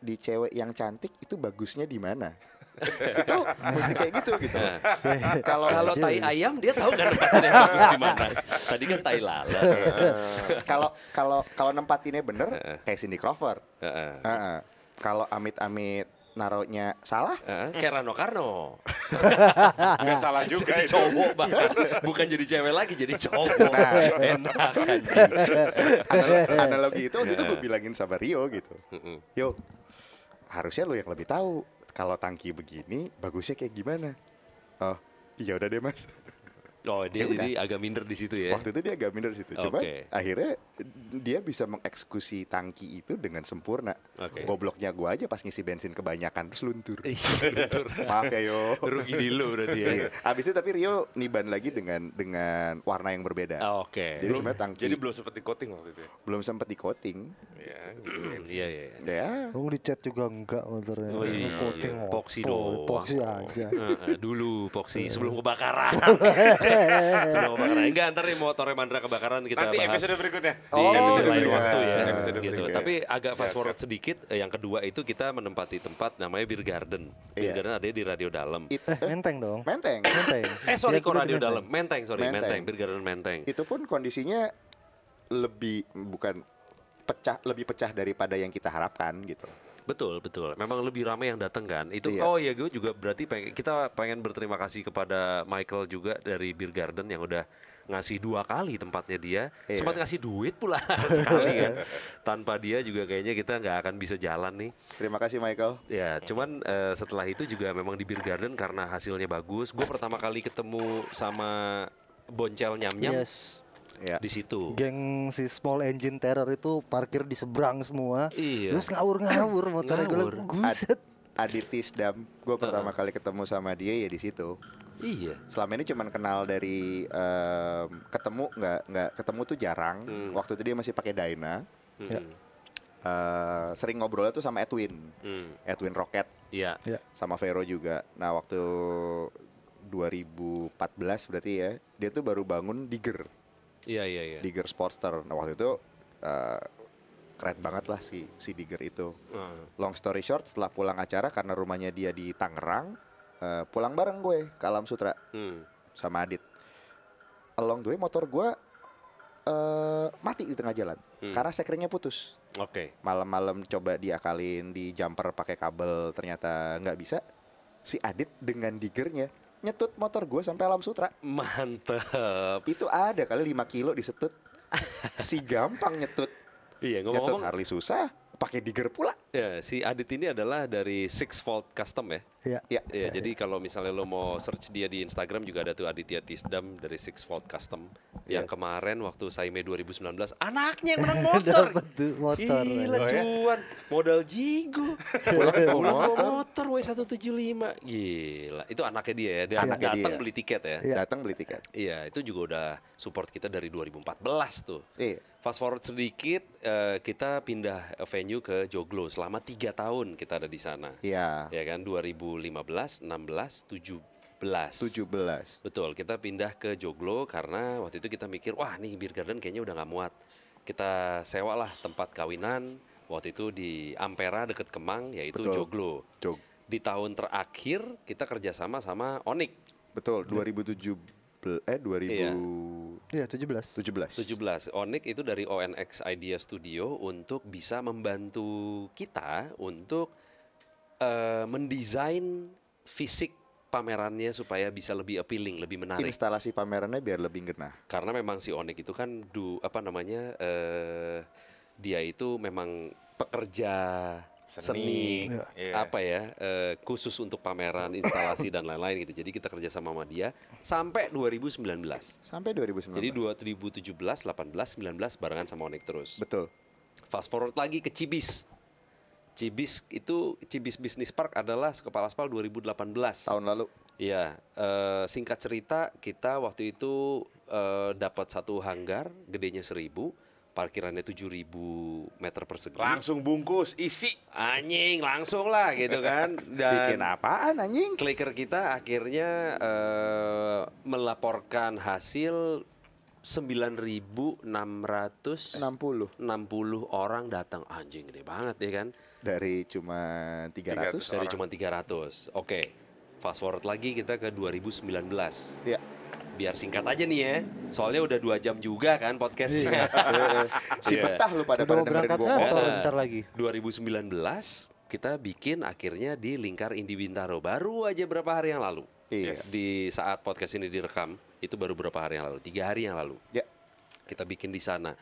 di cewek yang cantik itu bagusnya di mana itu mesti kayak gitu gitu
Nah.
kalau
Kalau
Iya,
tai
iya.
ayam dia tahu kan tempatnya yang bagus di mana. Tadi kan tai lalat.
Iya. kalau kalau kalau nempatinnya bener kayak Cindy Crawford
Heeh.
Heeh. kalau amit-amit naruhnya salah
Heeh, Kayak Rano Karno.
nggak salah juga
Jadi
itu. Nah,
cowok bahkan bukan jadi cewek lagi jadi cowok.
iya.
Enak kan. anjing.
Anal- analogi itu waktu itu
Iya.
gue bilangin sama Rio gitu. Yo, harusnya lo yang lebih tahu kalau tangki begini bagusnya kayak gimana. Oh, iya udah deh mas.
Oh, dia
Ya udah.
jadi agak minder di situ ya.
Waktu itu dia agak minder di situ. Cuma
Oke.
akhirnya dia bisa mengeksekusi tangki itu dengan sempurna.
Oke. Iya,
Gobloknya gue aja pas ngisi bensin kebanyakan terus luntur.
Luntur.
Maaf ya yo.
Rugi di lu berarti ya.
Iya. Abis itu tapi Rio niban lagi dengan dengan warna yang berbeda.
Ah, Oke.
Jadi sebenarnya tangki
Jadi belum sempat di coating waktu itu. ya?
belum sempat di coating.
Iya.
Iya iya.
Ya,
Lu dicat juga enggak motornya.
Oh, iya.
Coating
Iya,
apa?
poxy doang.
Poxy aja.
Heeh, dulu
Iya.
Poxy sebelum kebakaran. sebelum kebakaran. Enggak ntar nih motornya Mandra kebakaran kita
Nanti
bahas.
episode berikutnya.
di
Oh,
episode
iya.
lain waktu ya
Episode
gitu.
berikutnya.
Tapi agak fast forward sedikit eh, yang kedua itu kita menempati tempat namanya Beer Garden. Beer
Iya.
Garden ada di Radio Dalam.
it-
Menteng dong.
Ya, menteng.
Menteng.
Eh sorry
Ya,
Iya,
kok
kudu
Radio
di Menteng.
Dalam, Menteng sorry Menteng,
Menteng.
Beer Garden Menteng.
itu pun kondisinya lebih bukan pecah lebih pecah daripada yang kita harapkan gitu.
Betul, betul. Memang lebih ramai yang datang kan. Itu
Iya.
oh ya gue juga berarti pengen, kita pengen berterima kasih kepada Michael juga dari Beer Garden yang udah ngasih dua kali tempatnya dia.
Iya.
Sempat ngasih duit pula sekali kan. Tanpa dia juga kayaknya kita nggak akan bisa jalan nih.
Terima kasih Michael.
Ya, cuman eh, setelah itu juga memang di Beer Garden karena hasilnya bagus. Gue pertama kali ketemu sama Boncel Nyam Nyam
Yes.
Ya.
di situ.
Geng si Small Engine Terror itu parkir di seberang semua.
Iya.
Terus ngawur-ngawur motornya gue
Ngawur.
liat, Buset.
Aditis Dam, gue pertama kali ketemu sama dia ya di situ.
Iya.
Selama ini cuman kenal dari em, ketemu nggak nggak ketemu tuh jarang.
Hmm.
Waktu itu dia masih pakai Dyna. Iya. Eh, sering ngobrolnya tuh sama Edwin,
Hmm.
Edwin Rocket,
Iya.
Ya.
sama Vero juga. Nah waktu 2014 berarti ya, dia tuh baru bangun E Digger.
Iya, iya, iya.
Digger Sportster. Nah waktu itu eh, keren banget lah si si Digger itu.
Ah.
Long story short, setelah pulang acara karena rumahnya dia di Tangerang, eh, pulang bareng gue ke Alam Sutra
Hmm.
sama Adit. Along the way motor gue eh, mati di tengah jalan karena sekeringnya putus.
Oke.
Malam-malam coba diakalin di jumper pakai kabel ternyata nggak bisa. Si Adit dengan digernya nyetut motor gue sampai Alam Sutra.
Mantep.
Itu ada kali 5 kilo disetut. si gampang nyetut.
Iya,
Ngomong
ngomong-ngomong
Harley susah, pakai digger pula.
ya, si Adit ini adalah dari Six Volt Custom ya.
Ya.
Ya,
Iya, jadi kalau misalnya lo mau search dia di Instagram juga ada tuh Aditya Tisdam dari Six Volt Custom yang kemarin waktu Saime 2019 anaknya yang menang motor.
Dapat tuh motor.
Gila
Oh ya?
cuan, modal jigo.
Pulang bawa
Pulang bawa
motor.
motor W175. Gila, itu anaknya dia ya. Dia
Anaknya
datang
dia.
beli tiket ya.
datang beli tiket.
Iya, itu juga udah support kita dari 2014 tuh.
Iya.
Fast forward sedikit, eh, kita pindah venue ke Joglo. Selama tiga tahun kita ada di sana.
Iya,
Ya kan, 2015, 16, 17.
17.
Betul, kita pindah ke Joglo karena waktu itu kita mikir, wah nih Beer Garden kayaknya udah nggak muat. Kita sewa lah tempat kawinan, Waktu itu di Ampera deket Kemang yaitu
Betul.
Joglo.
Jog.
Di tahun terakhir kita kerjasama sama Onik
Betul, 2007 eh 2017.
Iya 17.
17. Onik itu dari ONX Idea Studio untuk bisa membantu kita untuk eh, mendesain fisik pamerannya supaya bisa lebih appealing, lebih menarik.
Instalasi pamerannya biar lebih genah.
karena memang si Onik itu kan du apa namanya eh dia itu memang pekerja seni,
Seni, iya.
apa ya eh, khusus untuk pameran instalasi dan lain-lain gitu jadi kita kerja sama sama dia sampai 2019
Sampai 2019.
jadi 2017 18 19 barengan sama Onik terus
Betul.
fast forward lagi ke Cibis Cibis itu Cibis Business Park adalah kepala aspal 2018
Tahun lalu
Iya, eh, singkat cerita kita waktu itu eh, dapat satu hanggar gedenya 1000, parkirannya 7000 meter persegi.
Langsung bungkus, isi.
Anjing, langsung lah gitu kan.
bikin
Dan
apaan anjing?
kliker kita akhirnya eh, melaporkan hasil 9660
60
orang datang anjing gede banget ya kan.
dari cuma 300.
300.
Dari
Orang.
cuma 300. Oke. Fast forward lagi kita ke 2019.
Iya.
biar singkat aja nih ya soalnya udah dua jam juga kan podcastnya
Si
Iya.
betah lu pada
Udah mau
pada dengerin
berangkat
gua
kantor
ngomong.
Heeh.
bentar lagi.
2019 kita bikin akhirnya di lingkar Indi Bintaro baru aja berapa hari yang lalu
Iya.
di saat podcast ini direkam itu baru berapa hari yang lalu tiga hari yang lalu
Ya,
kita bikin di sana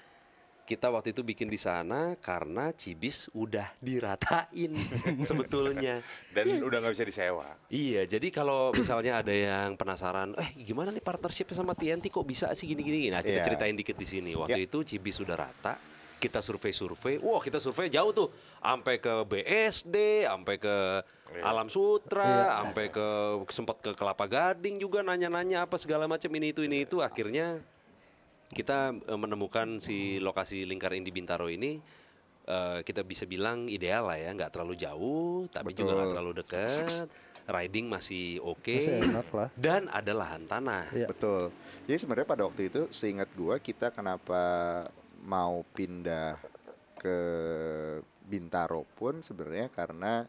kita waktu itu bikin di sana karena Cibis udah diratain sebetulnya
Dan udah nggak bisa disewa.
Iya, jadi kalau misalnya ada yang penasaran, eh gimana nih partnershipnya sama TNT kok bisa sih gini-gini? Nah kita
Iya.
ceritain dikit di sini. Waktu
Iya.
itu Cibi sudah rata, kita survei-survei. Wah kita survei jauh tuh, sampai ke BSD, sampai ke Alam Sutra, sampai ke sempat ke Kelapa Gading juga nanya-nanya apa segala macam ini itu ini itu. Akhirnya kita eh, menemukan si lokasi lingkar Indi Bintaro ini. eh, kita bisa bilang ideal lah ya, nggak terlalu jauh, tapi juga nggak terlalu dekat. Riding masih oke,
Masih enak lah.
dan ada lahan tanah.
Iya.
betul. Jadi sebenarnya pada waktu itu seingat gua kita kenapa mau pindah ke Bintaro pun sebenarnya karena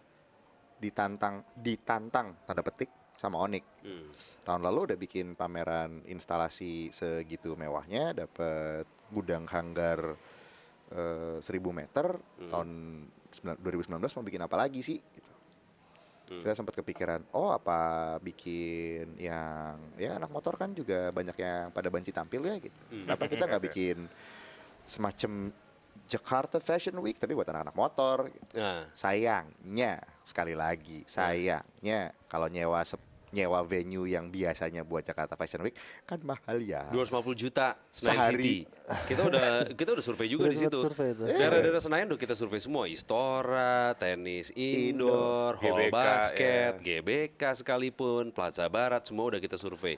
ditantang ditantang tanda petik sama Onik.
Hmm.
Tahun lalu udah bikin pameran instalasi segitu mewahnya, dapat gudang hanggar eh, 1000 meter. Tahun sembilan- 2019 mau bikin apa lagi sih? Gitu. Kita sempat kepikiran, oh apa bikin yang ya anak motor kan juga banyak yang pada banci tampil ya gitu.
Hmm.
Kenapa kita nggak bikin semacam Jakarta Fashion Week tapi buat anak-anak motor? Gitu.
Nah,
Sayangnya sekali
Hmm.
lagi sayangnya kalau nyewa se- nyewa venue yang biasanya buat Jakarta Fashion Week kan mahal ya.
250 juta Senayan City.
Sehari.
Kita udah kita udah survei juga
Udah
di
sempat
situ.
survei itu.
Daerah-daerah Senayan udah kita survei semua, Istora, tenis indoor, hall
GBK,
basket, GBK sekalipun, Plaza Barat semua udah kita survei.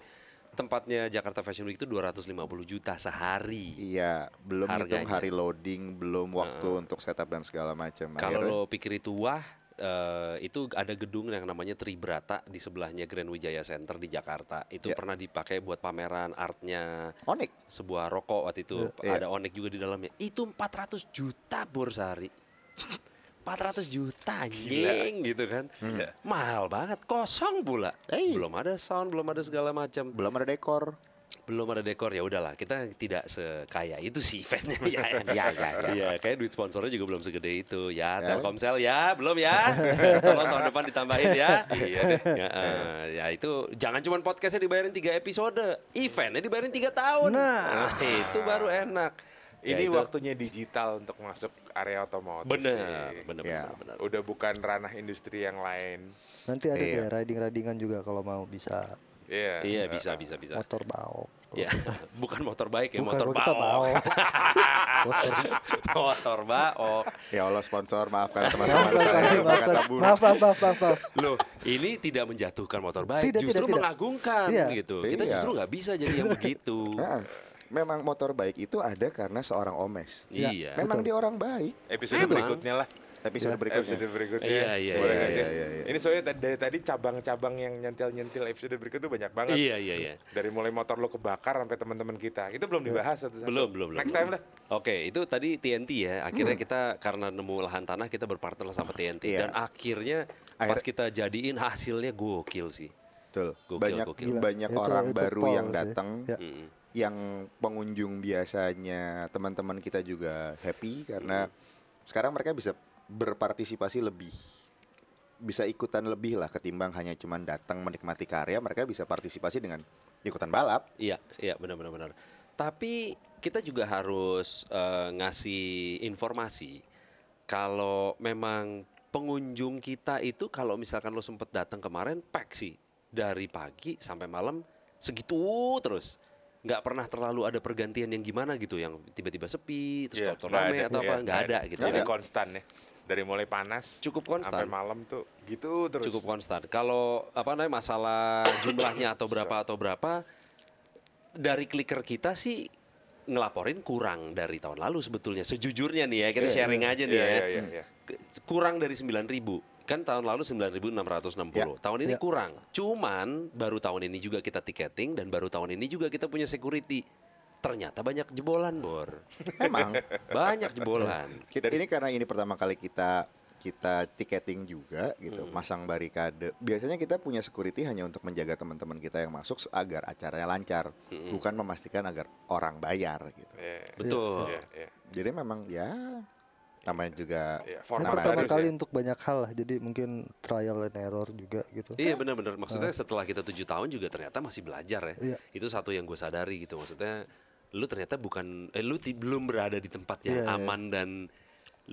Tempatnya Jakarta Fashion Week itu 250 juta sehari.
Iya, belum hitung
Harganya.
hari loading, belum waktu untuk setup dan segala
Kalau
macam. Akhirnya-
lo pikir itu wah eh, itu ada gedung yang namanya Tribrata di sebelahnya Grand Wijaya Center di Jakarta. Itu
Ya.
pernah dipakai buat pameran artnya
Onik
sebuah rokok waktu itu ada
Iya.
onek juga di dalamnya itu 400 juta bor sehari 400 juta anjing gitu kan
Hmm.
mahal banget kosong pula
Hey.
belum ada sound belum ada segala macam
belum ada dekor.
belum ada dekor ya udahlah kita tidak sekaya itu sih eventnya ya
Ya, ya, ya.
Iya, kayak duit sponsornya juga belum segede itu ya Telkomsel ya belum ya tolong tahun depan ditambahin ya iya deh. ya, eh, ya itu jangan cuma podcastnya dibayarin tiga episode eventnya dibayarin tiga tahun nah, itu baru enak Ya,
Ini
itu-
waktunya digital untuk masuk area otomotif.
bener
sih.
bener
Ya.
bener, bener.
Udah bukan ranah industri yang lain.
Nanti ada
Iya.
deh riding-ridingan juga kalau mau bisa
Iya.
iya
Eh,
bisa bisa bisa
motor bau.
ya bukan motor baik ya
Bukan
motor
kalau kita
baok
bau. motor
motor baok
Ya Allah sponsor maafkan teman-teman
Maaf,
saya yang
maaf,
berkata buruk.
maaf, maaf, maaf, maaf, maaf.
Loh, ini tidak menjatuhkan motor baik,
Tidak,
justru
tidak, tidak.
mengagungkan
Iya.
gitu. Kita
Iya.
justru nggak bisa jadi yang begitu.
Nah, memang motor baik itu ada karena seorang omes.
Iya.
Memang dia orang baik.
Emang.
Episode berikutnya lah.
episode Eh, berikutnya.
Episode berikutnya.
Iya, iya,
Boleh
iya,
nggak sih?
iya, iya, iya.
Ini soalnya tadi- dari tadi cabang-cabang yang nyentil-nyentil episode berikut tuh banyak banget.
Iya, iya, iya.
Dari mulai motor lo kebakar sampai teman-teman kita. Itu belum dibahas satu-satu.
Belum, belum, belum.
Next time lah.
Oke, itu tadi TNT ya. Akhirnya kita karena nemu lahan tanah kita berpartner sama TNT
Iya.
dan akhirnya pas kita jadiin hasilnya gokil sih.
Betul.
Gokil,
banyak
gokil.
Gila,
banyak
itu-
orang
itu
baru
Paul
yang
sih.
datang,
Ya.
yang pengunjung biasanya teman-teman kita juga happy karena sekarang mereka bisa berpartisipasi lebih, bisa ikutan lebih lah ketimbang hanya cuman datang menikmati karya, mereka bisa partisipasi dengan ikutan balap.
Iya, iya benar-benar benar. Tapi kita juga harus eh, ngasih informasi kalau memang pengunjung kita itu kalau misalkan lo sempet datang kemarin pack sih dari pagi sampai malam segitu terus nggak pernah terlalu ada pergantian yang gimana gitu yang tiba-tiba sepi terus yeah,
Iya, nggak
rame
ada.
atau
Iya,
apa nggak ada gitu
Jadi
ya.
konstan ya. Dari mulai panas
Cukup konstan.
sampai malam tuh gitu terus.
cukup konstan. Kalau apa namanya masalah jumlahnya atau berapa atau berapa dari kliker kita sih ngelaporin kurang dari tahun lalu sebetulnya. Sejujurnya nih ya, kita sharing aja nih
Iya,
ya.
iya, iya, iya.
Ke- Kurang dari 9000. Kan tahun lalu 9660.
Iya.
Ya.
Tahun ini
Ya.
kurang. Cuman baru tahun ini juga kita tiketing dan baru tahun ini juga kita punya security. Ternyata banyak jebolan, Bor.
Emang
Banyak jebolan.
Iya.
Kita- ini karena ini pertama kali kita kita tiketing juga gitu, masang barikade. Biasanya kita punya security hanya untuk menjaga teman-teman kita yang masuk agar acaranya lancar, bukan memastikan agar orang bayar gitu.
Iya,
Betul.
iya, iya.
Jadi memang ya namanya juga
Iya,
Ini
format
namanya-
pertama
baru sih.
kali untuk banyak hal lah, jadi mungkin trial and error juga gitu.
Iya benar-benar maksudnya setelah kita tujuh tahun juga ternyata masih belajar ya.
Iya.
Itu satu yang gue sadari gitu maksudnya lu ternyata bukan eh, lu ti- belum berada di tempat
Iya,
yang
iya.
aman dan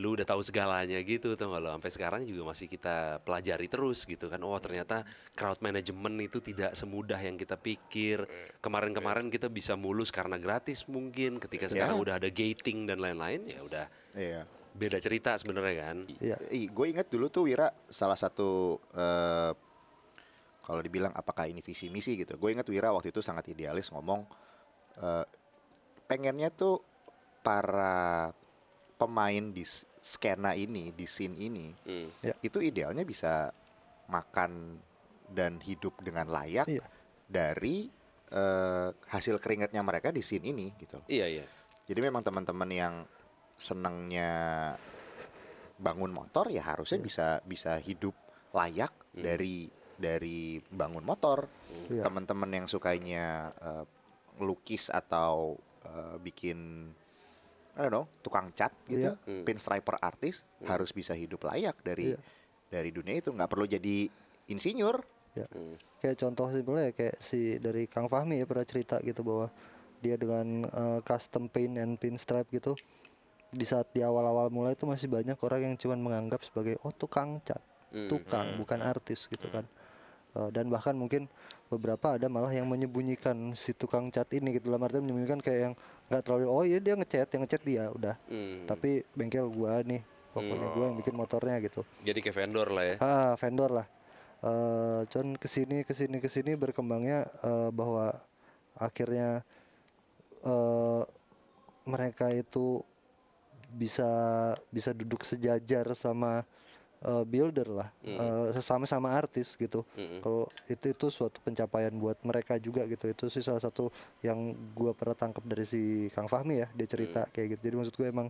lu udah tahu segalanya gitu tuh lo sampai sekarang juga masih kita pelajari terus gitu kan oh ternyata crowd management itu tidak semudah yang kita pikir kemarin-kemarin kita bisa mulus karena gratis mungkin ketika sekarang
Iya.
udah ada gating dan lain-lain ya udah
Iya.
beda cerita sebenarnya kan
Iya.
Gue ingat dulu tuh Wira salah satu eh, kalau dibilang apakah ini visi misi gitu. Gue ingat Wira waktu itu sangat idealis ngomong eh, pengennya tuh para pemain di s- skena ini, di scene ini
Hmm.
Ya.
itu idealnya bisa makan dan hidup dengan layak
Iya.
dari eh, hasil keringatnya mereka di scene ini gitu.
iya iya
Jadi memang teman-teman yang senangnya bangun motor ya harusnya
Iya.
bisa bisa hidup layak dari dari bangun motor.
Hmm. Iya.
Teman-teman yang sukainya eh, lukis atau eh, bikin I don't know, tukang cat gitu,
Iya. Hmm.
Hmm.
pinstriper artis harus bisa hidup layak dari
Iya.
dari dunia itu nggak perlu jadi insinyur.
Ya. Kayak contoh simpelnya kayak si dari Kang Fahmi ya pernah cerita gitu bahwa dia dengan eh, custom paint and pinstripe gitu di saat di awal-awal mulai itu masih banyak orang yang cuman menganggap sebagai oh tukang cat, tukang bukan artis gitu kan. Eh, dan bahkan mungkin beberapa ada malah yang menyembunyikan si tukang cat ini gitu dalam artian menyembunyikan kayak yang nggak terlalu oh iya dia ngecat yang ngecat dia udah
Hmm.
tapi bengkel gua nih pokoknya gua yang bikin motornya gitu
jadi ke vendor lah ya
Ah, vendor lah. Eh cuman kesini kesini kesini berkembangnya eh, bahwa akhirnya eh mereka itu bisa bisa duduk sejajar sama eh, builder lah, Eh, sesama sama artis gitu. Kalau itu itu suatu pencapaian buat mereka juga gitu. Itu sih salah satu yang gua pernah tangkap dari si Kang Fahmi ya, dia cerita kayak gitu. Jadi maksud gue emang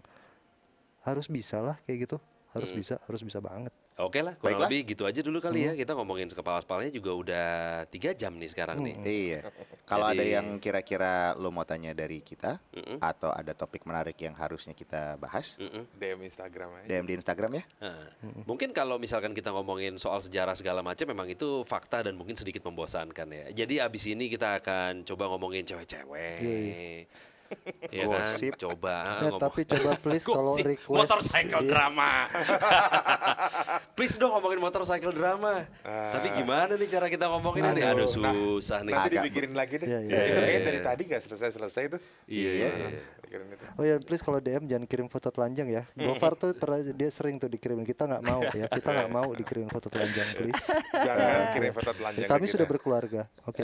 harus bisa lah kayak gitu, harus bisa harus bisa banget.
Oke lah, kurang
Baiklah.
lebih gitu aja dulu kali
Hmm.
ya. Kita ngomongin kepala-kepalanya juga udah tiga jam nih sekarang nih.
Hmm.
Iya. Kalau
Hmm.
ada
Jadi-
yang kira-kira lo mau tanya dari kita
Mm-mm.
atau ada topik menarik yang harusnya kita bahas,
Mm-mm.
DM Instagram aja.
Iya,
DM di Instagram ya.
Nah,
Hmm.
Mungkin kalau misalkan kita ngomongin soal sejarah segala macam, memang itu fakta dan mungkin sedikit membosankan ya. Jadi abis ini kita akan coba ngomongin cewek-cewek. Ya kan?
Gosip.
Coba
Iya, Eh,
ngomong-
tapi coba please kalau
Gosip,
request
motorcycle
iya.
drama. please dong ngomongin motorcycle drama.
Ah.
Tapi gimana nih cara kita ngomongin ini? Aduh susah
Nah,
nih.
Nanti
Agak-
dipikirin lagi deh.
Iya, iya.
Itu kayaknya dari tadi nggak selesai-selesai tuh.
Iya.
Pikirin itu.
Oh ya, please kalau DM jangan kirim foto telanjang ya. Gofar tuh pernah dia sering tuh dikirimin. Kita nggak mau ya. Kita nggak mau dikirim foto telanjang, please.
Jangan kirim foto telanjang.
Kami
ke
sudah
kita.
berkeluarga. Oke.